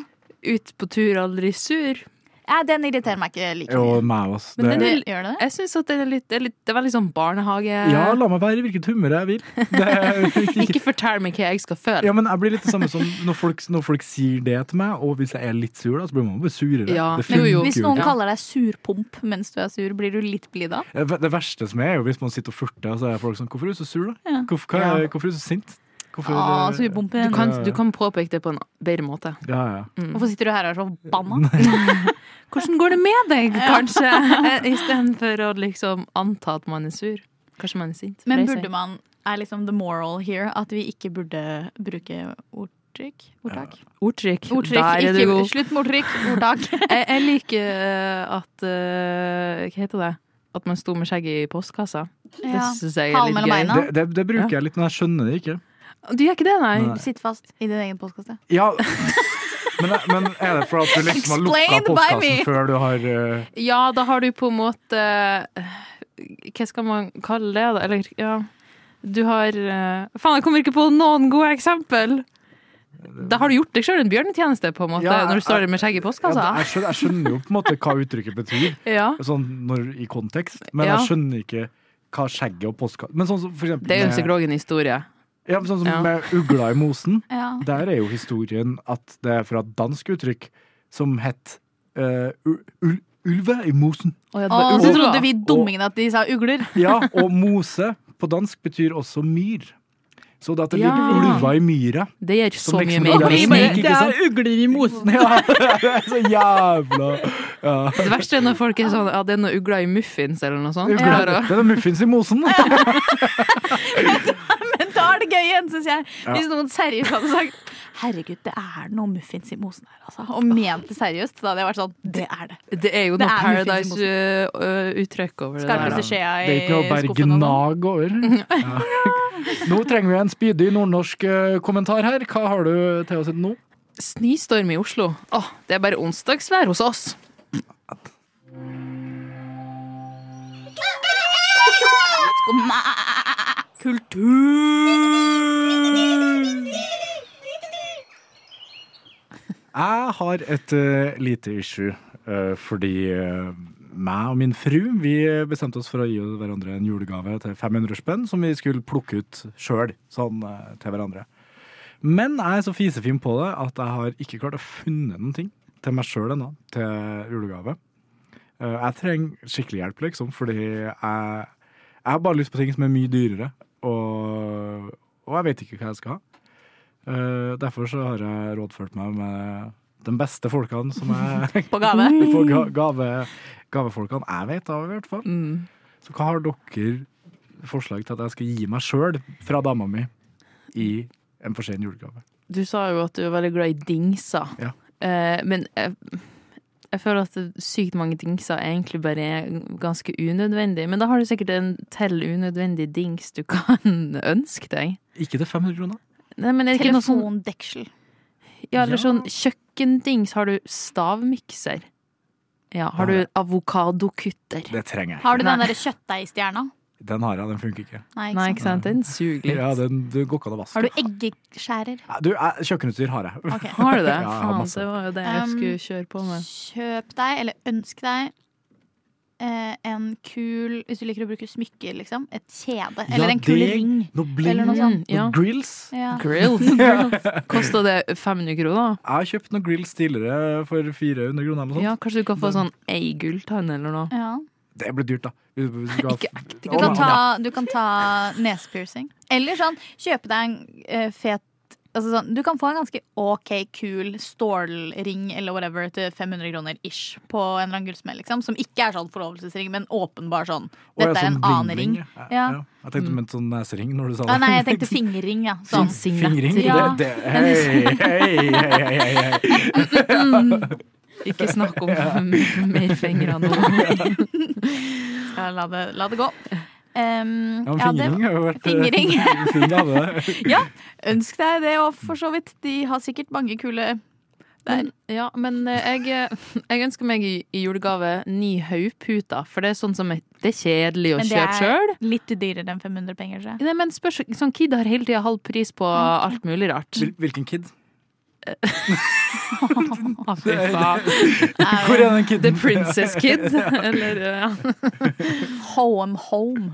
E: Ut på tur, aldri sur.
F: Ja, den irriterer meg ikke like
C: Jo,
F: mye.
C: meg, altså.
E: Men
C: Det,
E: den-
F: Det,
E: det-
F: gjør det det?
E: Jeg syns at det er litt, det er litt Det er veldig sånn barnehage...
C: ja, la meg være i hvilket humør jeg vil. Det er ikke,
E: Ikke fortell meg hva jeg skal føle.
C: ja, men jeg blir litt det samme som når folk, når folk sier det til meg, og hvis jeg er litt sur, da, så blir man bare surere.
E: Ja,
C: Det
E: men jo, jo.
C: funker
F: Hvis
C: jo
F: noen
C: ikke.
F: kaller deg surpomp mens du er sur, blir du litt blid da?
C: Det det verste som er, er jo hvis man sitter og furter, og så er folk sånn Hvorfor er du så sur, da?
F: Ja.
C: Hvorfor, hva,
E: Ja. Ah,
C: er- hvorfor er du så sint? Hvorfor,
F: Å, surpompen.
E: Du kan,
C: Ja, ja.
E: du kan påpeke det på en bedre måte.
C: Ja, ja.
F: Hvorfor sitter du her og er så forbanna?
E: Hvordan går det med deg, kanskje? Eh, Istedenfor å liksom anta at man er sur. Kanskje man er sint.
F: Men burde man, er liksom the moral here, at vi ikke burde bruke ordtrykk? Ordtak?
E: Ordtrykk.
F: Ordtrykk,
E: Der er du
F: ikke,
E: god.
F: slutt med ordtrykk, ordtak.
E: Jeg, jeg liker eh, at eh, Hva heter det? At man sto med skjegget i postkassa. Det
F: Ja.
E: syns jeg er
F: Halen
E: litt gøy.
F: mellom beina.
C: Det, det, det bruker jeg litt, men jeg skjønner det ikke.
E: Du gjør ikke det, nei?
C: Nei.
F: Sitt fast i din egen postkasse.
C: Ja, men, men er det for at du liksom har lukka
F: Explained by me.
C: postkassen før du har eh,
E: Ja, da har du på en måte eh, Hva skal man kalle det, da? Eller ja Du har eh, Faen, jeg kommer ikke på noen gode eksempel! Da har du gjort deg sjøl en bjørnetjeneste, på en måte,
C: Ja,
E: når du står
C: jeg-
E: der med skjegget i
C: ja,
E: postkassa.
C: jeg, skjønner, jeg skjønner jo på en måte hva uttrykket betyr,
E: ja.
C: sånn når, i kontekst, men
E: Ja.
C: jeg skjønner ikke hva skjegget og postkassa Men sånn som for eksempel
E: Det er jo en
C: med-
E: psykologen historie.
C: Ja, men sånn som
E: Ja.
C: med ugla i mosen.
F: Ja.
C: Der er jo historien at det er fra et dansk uttrykk som het eh, u- ul- ulve i mosen.
F: Og så trodde vi dummingene at de sa ugler.
C: Ja, og mose på dansk betyr også myr. Så det at det
E: Ja.
C: ligger ulver i myra
E: Det gjør så
C: som liksom
E: mye mer
C: er en snik,
E: mening.
C: ikke sant?
E: ugler i mosen!
C: Ja, det er så jævla ja.
E: Det verste er når folk er sånn Ja, det er noen ugler i muffins eller noe sånt.
C: Ugla,
E: Der, og-
C: Det er muffins i mosen.
F: Men da er det gøy igjen, syns jeg. Hvis noen seriøst hadde sagt Herregud, det er noe muffins i mosen her, altså. Og ment det seriøst. Da hadde jeg vært sånn Det er det.
E: Det er jo
F: Det
E: noe
F: er muffins i mosen.
E: Paradise-uttrykk over det
F: Skal
E: der.
F: ikke
E: da.
F: se skjea
C: Det er
F: i
C: ikke noe å berge
F: skuffen. og sånn. noe.
C: nag over. Ja. Nå trenger vi en spydig nordnorsk eh, kommentar her. Hva har du til oss nå?
E: Snøstorm i Oslo. Åh, det er bare onsdagsvær hos oss.
C: Jeg har et eh, lite issue, eh, fordi eh, meg og min fru vi bestemte oss for å gi hverandre en julegave til 500 spenn, som vi skulle plukke ut sjøl, sånn eh, til hverandre. Men jeg er så fisefin på det at jeg har ikke klart å funne noen ting til meg sjøl ennå, til julegave. Eh, Jeg trenger skikkelig hjelp, liksom, fordi jeg, jeg har bare lyst på ting som er mye dyrere, og, og jeg vet ikke hva jeg skal ha. Eh, derfor så har jeg rådført meg med de beste folkene som jeg
F: på gave.
C: på ga, gave, gavefolkene jeg vet av, i hvert fall.
E: Mm.
C: Så hva har dere forslag til at jeg skal gi meg sjøl fra dama mi i en for sen julegave?
E: Du sa jo at du er veldig glad i dingser.
C: Ja.
E: Eh, men jeg, jeg føler at det- sykt mange dingser egentlig bare er ganske unødvendig. Men da har du sikkert en til unødvendig dings du kan ønske deg.
C: Ikke til 500 kroner.
E: Nei, men er det ikke noe sånn,
F: Telefondeksel.
E: ja, eller
C: Ja.
E: sånn kjøkkendings? Har du stavmikser? Ja, har du avokadokutter?
C: Det trenger jeg.
F: Har du den
E: Nei.
F: derre kjøttdeigstjerna?
C: Den har jeg, den funker ikke.
F: Nei, ikke
E: Nei,
F: sant.
E: ikke sant? Den suger litt.
C: Ja, den det går ikke an å vaske.
F: Har du eggeskjærer?
C: Nei, Du, jeg- kjøkkenutstyr har jeg.
F: Ok.
E: Har du det?
C: Ja, jeg har
E: Faen,
C: masse.
E: det var jo det jeg
F: Um,
E: skulle kjøre på
C: Sånn,
E: med.
F: Kjøp deg, eller ønsk deg, eh, en kul Hvis du liker å bruke smykker, liksom. Et kjede. Eller en kul
C: det-
F: ring.
C: Noe
F: Eller noe
C: bling,
F: sånt.
E: Mm, Ja.
C: noe grills.
F: Ja.
E: Grill. Kosta det 500 kroner?
C: Jeg har kjøpt noen grills tidligere for 400 kroner. eller noe sånt.
E: Ja, kanskje du kan få sånn ei gulltann eller noe.
F: Ja.
C: Det blir dyrt, da. Hvis- hvis du skal-
E: Ikke act, ikke
F: Du kan
C: Å,
F: ta,
C: nei.
F: du kan ta nesepiercing. Eller sånn, kjøpe deg en eh, fet altså sånn, Du kan få en ganske OK, kul stålring eller whatever til 500 kroner ish på en eller annen gullsmed, liksom. Som ikke er sånn forlovelsesring, men åpenbar
C: Å,
F: sånn.
C: ja,
F: Dette er en
C: sånn
F: annen
C: bling-bling,
F: ring.
C: ja.
F: Ja.
C: Ja. Jeg tenkte du mente sånn nesering når du sa det.
F: Ah, nei, jeg tenkte fingerring, ja. Sånn.
C: Fingring?
E: Signettring.
F: Ja.
C: Det, det, hei, hei, hei, hei, hei, hei.
E: Ikke snakk om mer fingre nå.
F: Ja, la, det, la det gå. Em,
C: Ja, men
F: ja, det,
C: fingring har jo vært
F: Fingring.
C: Fingring hadde det.
F: ja, ønsk deg det òg, for så vidt. De har sikkert mange kule der.
E: Men, ja, men eh, jeg, jeg ønsker meg i, i julegave ni hodeputer, for det er sånn som er- Det er kjedelig å
F: Men det
E: kjøpe sjøl.
F: er litt dyrere enn 500 penger, tror jeg.
E: Nei, men spørs, sånn Kid har hele tida halv pris på alt mulig rart.
C: Hvil- Hvilken kid?
E: Ah, fy faen.
C: Hvor er den
E: The
C: kiden?
E: Princess Kid, eller eh, ja.
F: Home home.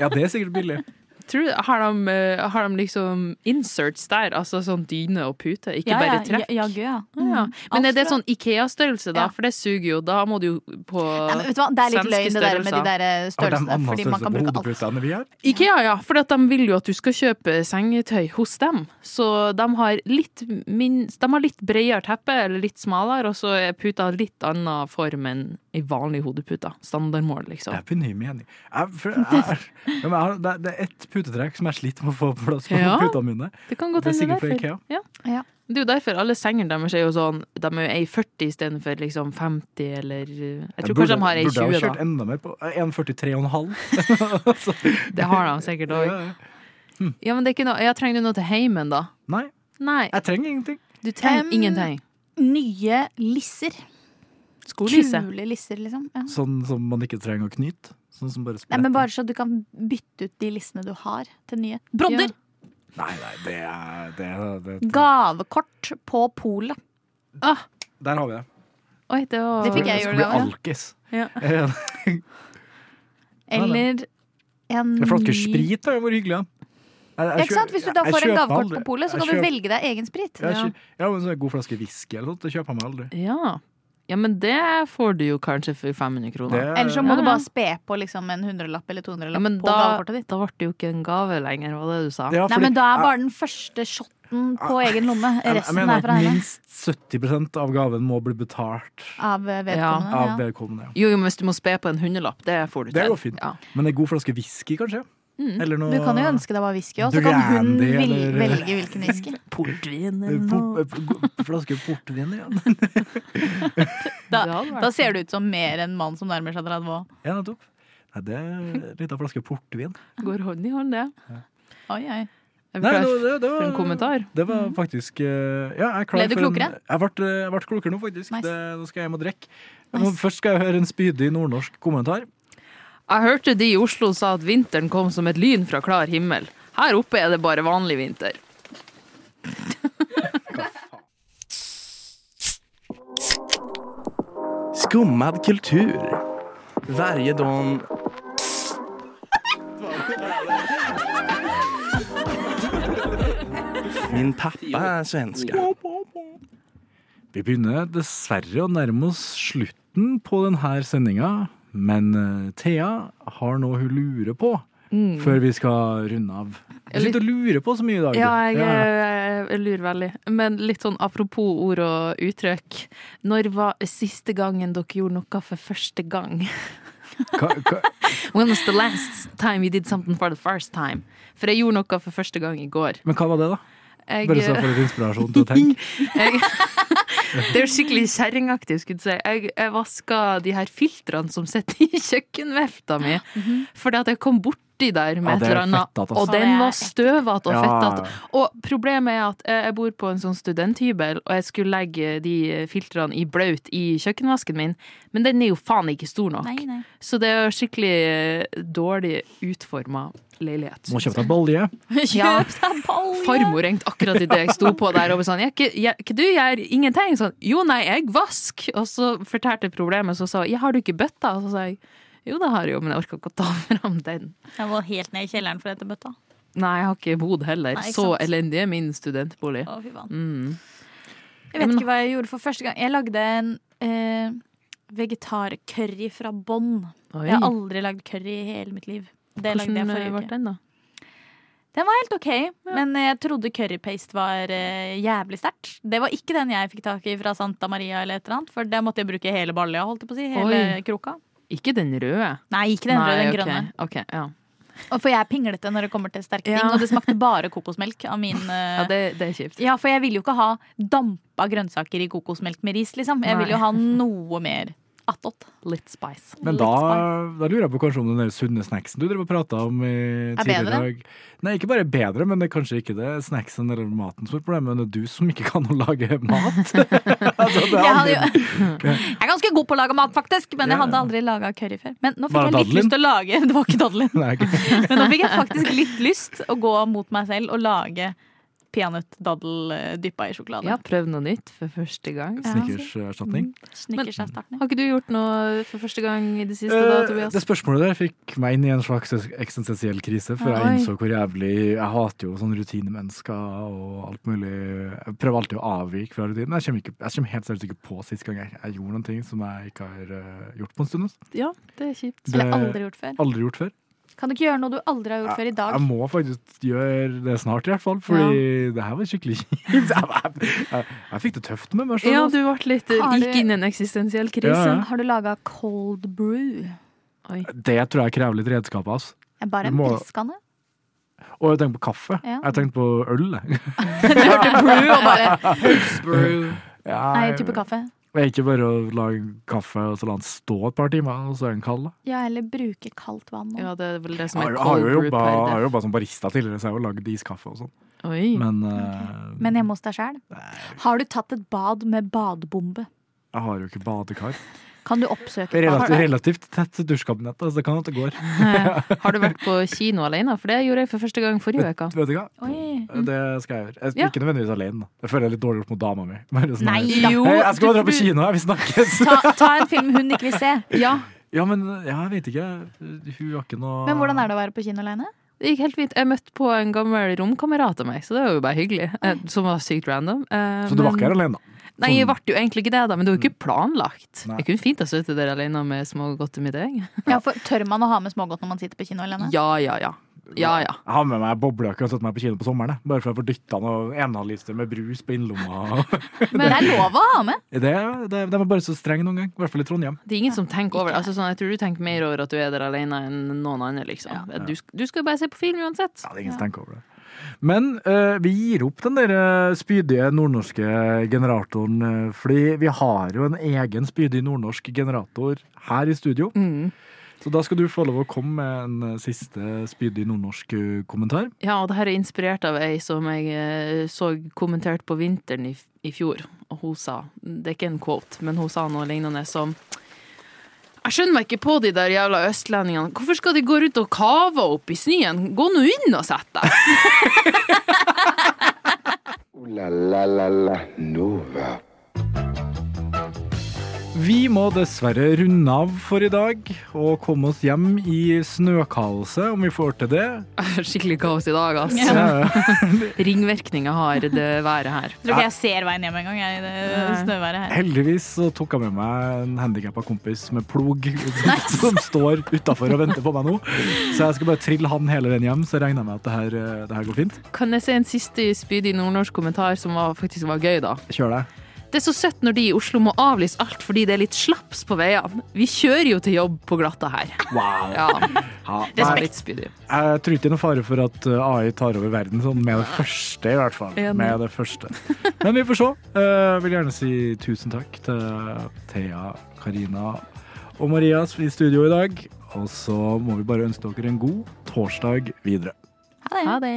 C: Ja, det er sikkert billig.
E: Tror du, har, de, eh, har de liksom inserts der? Altså sånn dyne og pute, ikke
F: Ja,
E: bare
F: ja,
E: trekk?
F: ja, jaggu, ja.
E: Ah, ja.
F: Alt
E: Men er det
F: fra-
E: sånn Ikea-størrelse, da?
F: Ja.
E: For det suger jo. Da må du jo på
F: Nei, men vet du hva? Det er litt
E: Svenske
F: løgn det der med de der eh,
C: Har de
F: størrelsene.
C: annen
F: Fordi man
C: størrelse
F: kan
C: på
F: bruke alt.
C: hodeputene vi har?
E: Ikea, ja. For at de vil jo at du skal kjøpe sengetøy hos dem. Så de har litt, min, de har litt bredere teppe, eller litt smalere, og så er puta litt annen form enn ei vanlig hodepute. Standardmål, liksom.
C: Jeg er ny mening. Jeg, for, jeg, ja, men jeg, har- det, det er ett putetrekk som jeg sliter med å få plass på
E: Ja.
C: putene mine.
E: Det kan godt
C: Det er
E: hende
C: sikkert fra
E: derfor.
C: Ikea.
E: Ja.
F: Ja.
E: Det er jo derfor alle sengene deres er jo sånn De er jo ei 40 istedenfor liksom 50 eller eh, Jeg tror kanskje de har ei
C: burde jeg
E: 20,
C: kjørt
E: da.
C: enda mer på eh, 1,43,5.
E: Det har de sikkert òg.
C: Ja, ja.
E: Ja, men det er ikke noe Ja, trenger du noe til heimen, da?
C: Nei,
E: Nei,
C: jeg trenger ingenting.
E: du trenger
F: Em,
E: ingenting.
F: Nye lisser.
E: Skolisse.
F: Kule lisser, liksom. Ja.
C: Sånn som man ikke trenger å knyte. Sånn som bare
F: Nei, men
C: spretter.
F: bare så du kan bytte ut de lissene du har, til nye. Brodder!
C: Nei, nei, det er, det er det,
F: Gavekort på polet.
E: Ah,
C: Der har vi det.
E: oi, det var
F: Det fikk jeg i
C: Skulle
F: julegave,
C: bli
F: ja.
C: alkis.
E: Ja.
C: Eh, Nei,
F: Eller en
C: Det flasker
F: ny
C: sprit, da. Det var hyggelig. da. Jeg,
F: Ja, Ikke sant? Hvis du da får en gavekort på polet, så kan du velge deg egen sprit.
C: Ja,
E: Ja.
C: ja men så en god flaske whisky eller noe sånt, det kjøper jeg meg aldri.
E: Ja. ja, men det får du jo kanskje for 500
C: Det,
E: kroner.
F: Eller så
E: Ja,
F: må du
E: ja.
F: bare spe på liksom en hundrelapp eller
E: Ja,
F: 200-lapp
E: men
F: på
E: da,
F: gavekortet ditt.
E: da ble det jo ikke en gave lenger, var det du sa.
C: Ja,
F: Nei,
C: fordi
F: men da er
C: jeg-
F: bare den første shotten på egen
C: jeg-
F: lomme.
C: jeg
F: Resten
C: mener
F: er
C: at
F: fra henne.
C: Minst 70 av gaven må bli betalt
F: Av eh, vedkommende.
C: av
F: Ja.
C: vedkommende. Ja.
E: Jo, jo, men hvis du må spe på en hundrelapp, det får du
C: Det
E: til.
C: går fint.
E: Ja.
C: Men en god flaske whisky, kanskje? Eller noe
F: Mm. Du kan jo ønske deg bare whisky òg, så kan hun
C: Brandy,
F: vil,
C: eller-
F: velge hvilken whisky.
E: Portvin
C: Eh,
E: eller
C: po-
E: noe.
C: eh, po- Flaske portvin, ja.
F: Da,
E: Det hadde vært
F: da ser du ut som mer en mann som nærmer seg 30 òg.
C: Ja, nettopp. Nei, det er en liten flaske portvin.
E: Går hånd i hånd, det.
F: Oi, oi.
E: Er vi
C: Nei,
E: klar
C: nå, det, det
E: for en kommentar? Mm.
C: Det var faktisk eh, Ja, jeg er klar
F: Ble du
C: for en-
F: klokere?
C: Jeg ble, jeg ble klokere nå, faktisk.
F: Nice.
C: Det, nå skal jeg hjem og drikke.
F: Nice.
C: Men Først skal jeg høre en spydig nordnorsk kommentar.
E: Jeg hørte de i Oslo sa at vinteren kom som et lyn fra klar himmel. Her oppe er det bare vanlig vinter.
G: Skummad kultur. Varje dag Min pappa är svenska.
C: Vi begynner dessverre å nærme oss slutten på denne sendinga, men eh, Thea har noe hun lurer på.
E: Mm.
C: før vi skal runde av. Du
E: Jeg
C: sitter og lurer på så mye i dag. du.
E: Ja, jeg,
C: Ja, ja.
E: jeg, jeg lurer veldig. Men litt sånn apropos ord og uttrykk. Når var siste gangen dere gjorde noe for første gang?
C: Hva, hva,
E: When was the last time you did something for the first time? For jeg gjorde noe for første gang i går.
C: men hva var det, da?
E: Jeg,
C: Bare så for litt inspirasjon til å tenke.
E: jeg, det er jo skikkelig kjerringaktig, skulle jeg si. Jeg, jeg vaska de her filtrene som sitter i kjøkkenvefta mi, fordi at jeg kom borti der med
C: Ja,
E: et
C: det er
E: eller annet,
C: fettet, ass.
E: og
F: Ja, mhm. det
E: den
F: er
E: var støvete og
C: Ja,
E: fettete. Og problemet er at eh, jeg bor på en sånn studenthybel, og jeg skulle legge de filtrene i blaut i kjøkkenvasken min, men den er jo faen ikke stor nok.
F: Nei, nei.
E: Så det er jo skikkelig eh, dårlig utforma leilighet.
C: Må
E: synes
C: kjøpe deg balje.
E: Ja.
F: Kjøp deg balje!
E: Farmor ringte akkurat idet jeg sto på der og var sånn «Ja, Hva ja, hva du gjør? Ingenting? Sånn, jo, nei, jeg vask! Og så fortalte jeg problemet, så sa hun ja, har du ikke bøtta? Og så sa jeg jo, det har jeg jo, men jeg orker ikke å ta fram den.
F: Jeg må helt ned i kjelleren for dette bøtta.
E: Nei, jeg har ikke bodd heller.
F: Nei, ikke
E: så
F: sant.
E: elendig er min studentbolig.
F: Å, fy faen.
E: Mm.
F: Jeg vet ikke hva jeg gjorde for første gang. Jeg lagde en eh, vegetarcurry fra bånn.
E: Oi.
F: Jeg har aldri lagd curry i hele mitt liv. Det lagde jeg
E: Hvordan eh,
F: forrige
E: ble
F: uke.
E: den, da?
F: Den var helt ok, men eh, jeg trodde currypaste var eh, jævlig sterkt. Det var ikke den jeg fikk tak i fra Santa Maria, eller et eller annet, for der måtte jeg bruke hele balja. holdt jeg på å si, hele
E: Oi.
F: kroka.
E: Ikke den røde?
F: Nei, ikke den røde, den
E: ok.
F: grønne.
E: Ok, ja.
F: Og For jeg er pinglete når det kommer til sterke ting,
E: Ja.
F: og det smakte bare kokosmelk av min eh,
E: ja det, det er kjipt.
F: Ja, for jeg vil jo ikke ha dampa grønnsaker i kokosmelk med ris, liksom. Jeg vil jo
E: Nei.
F: ha noe mer attåt.
E: Litt spice.
C: Men da, da lurer jeg på kanskje om den der sunne snacksen du drev og prata om i
F: Er
C: tidligere i
F: bedre?
C: dag Nei, ikke bare bedre, men det er kanskje ikke det snacksen eller maten som er problemet, men det er du som ikke kan å lage mat. altså, det er
F: Jeg, hadde
C: aldri-
F: jo, jeg er ganske god på å lage mat, faktisk, men jeg hadde aldri laga curry før. Men nå fikk
C: Var det
F: jeg litt
C: daddelin?
F: lyst til å lage Det var ikke daddelin.
C: Nei, ikke-
F: Men nå fikk jeg faktisk litt lyst å gå mot meg selv og lage peanøttdaddel eh, dyppa i sjokolade.
E: Ja, prøv noe nytt for første gang.
F: Ja.
C: Snickerserstatning.
F: Snickers er starten.
E: Har ikke du gjort noe for første gang i det siste, da,
C: Eh,
E: Tobias?
C: Det spørsmålet der fikk meg inn i en slags eksistensiell krise, for jeg
E: Oi.
C: innså hvor jævlig Jeg hater jo sånne rutinemennesker og alt mulig. Jeg prøver alltid å avvike fra rutinen. Jeg kommer, ikke, jeg kommer helt seriøst ikke på sist gang jeg, jeg gjorde noen ting som jeg ikke har eh, gjort på en stund. altså.
E: Ja, det er kjipt.
F: Som jeg
C: Det-
F: aldri har gjort før.
C: Aldri gjort før.
F: Kan du ikke gjøre noe du aldri har gjort før i dag?
C: Jeg må faktisk gjøre det snart, i hvert fall. Fordi det her var skikkelig kjipt. Jeg, jeg, jeg fikk det tøft med meg altså. sjøl.
E: Ja, du ble litt,
F: Har du-
E: gikk inn i en eksistensiell krise.
C: Ja, ja.
F: Har du laga cold brew?
E: Oi.
C: Det tror jeg krever litt redskap. Altså.
F: Jeg Bare
C: Du
F: en
C: må-
F: pilskanne.
C: Og jeg tenkte på kaffe.
F: Ja.
C: Jeg tenkte på øl. jeg.
F: Du hørte brew og bare
C: Ja,
F: Nei, type kaffe.
C: Det er ikke bare å lage kaffe og så la den stå et par timer, og så er den kald. da.
F: Ja, eller bruke kaldt vann.
E: Ja, det er vel det som
C: Jeg
E: er
C: har- har
E: cold
C: jo
E: brew
C: jobba, har
E: per
C: jobba som barista tidligere, så jeg har jo lagd iskaffe og sånn.
E: Oi.
C: Men eh,
F: Men hjemme hos deg sjæl? Har du tatt et bad med badebombe?
C: jeg har jo ikke badekar.
F: Kan du oppsøke et
C: Relativt,
F: badekar?
C: relativt tett dusjkabinett, da, så det kan at det går.
E: Har du vært på kino alene? For det gjorde jeg for første gang forrige uke.
C: Vet du hva?
F: Oi.
C: Det skal jeg gjøre. Jeg,
E: Ja.
C: Ikke nødvendigvis alene. da. Jeg føler jeg er litt dårlig gjort mot dama mi. Bare sånn
F: Nei
C: her.
F: da.
E: Jo,
C: Hei, jeg skal bare dra på
E: du-
C: kino, her, vi snakkes!
F: Ta, ta en film hun ikke vil se.
E: Ja,
C: Ja, men ja, jeg vet ikke. Hun har ikke noe
F: Men hvordan er det å være på kino aleine?
E: det gikk helt fint. Jeg møtte på en gammel romkamerat av meg, så det var jo bare hyggelig. eh, Som var sykt random. Eh,
C: Så du var ikke her alene, da?
E: Nei, jeg ble jo egentlig ikke det, da, men det var jo ikke planlagt.
C: Nei.
E: Jeg kunne fint ha sittet der alene med smågodtet mitt, jeg.
F: Ja, for tør man å ha med smågodt når man sitter på kino alene?
E: Ja, ja, ja. Ja, ja.
C: Jeg har med meg boblejakke og har satt meg på kino på sommeren. jeg. Bare for å få dytta noe enhaliste med brus på innlomma.
F: Men det er lov å ha med.
C: Det, det, de er bare så strenge noen gang. I hvert fall i Trondheim.
E: Det er ingen som tenker over det.
F: Ikke
E: Altså, sånn, jeg tror du tenker mer over at du er der alene enn noen andre, liksom. Du, sk- du skal jo bare se på film uansett.
C: Ja, det er ingen som tenker over det. Men eh, vi gir opp den der eh, spydige nordnorske generatoren, eh, fordi vi har jo en egen spydig nordnorsk generator her i studio.
E: Mm.
C: Så da skal du få lov å komme med en eh, siste spydig nordnorsk eh, kommentar.
E: Ja, og det her er inspirert av ei som jeg eh, så kommentert på vinteren i, f- i fjor, og hun sa Det er ikke en quote, men hun sa noe lignende som Jeg skjønner meg ikke på de der jævla østlendingene. Hvorfor skal de gå rundt og kave opp i snøen? Gå nå inn og sett deg!
B: Ooh la la la la Nova.
C: Vi må dessverre runde av for i dag og komme oss hjem i snøkaoset, om vi får til det.
E: Skikkelig kaos i dag, ass.
C: Ja.
E: Ringvirkninger har det været her.
F: Jeg tror ikke jeg ser veien hjem engang, jeg, i det snøværet her.
C: Heldigvis så tok jeg med meg en handikappa kompis med plog som, som står utafor og venter på meg nå. Så jeg skal bare trille han hele veien hjem, så regner jeg med at det her, eh, det her går fint.
E: Kan jeg si en siste spydig nordnorsk kommentar som var, faktisk var gøy, da?
C: Kjør deg.
E: Det er så søtt når de i Oslo må avlyse alt fordi det er litt slaps på veiene. Vi kjører jo til jobb på glatta her.
C: Wow.
E: Ja,
C: Ja, nei,
E: det var litt spydig.
C: Jeg tror ikke det er noen fare for at uh, AI tar over verden sånn med det første, i hvert fall.
E: Enig.
C: Med det første. Men vi får se. Jeg vil gjerne si tusen takk til Thea, Karina og Marias i studio i dag. Og så må vi bare ønske dere en god torsdag videre.
E: Ha det.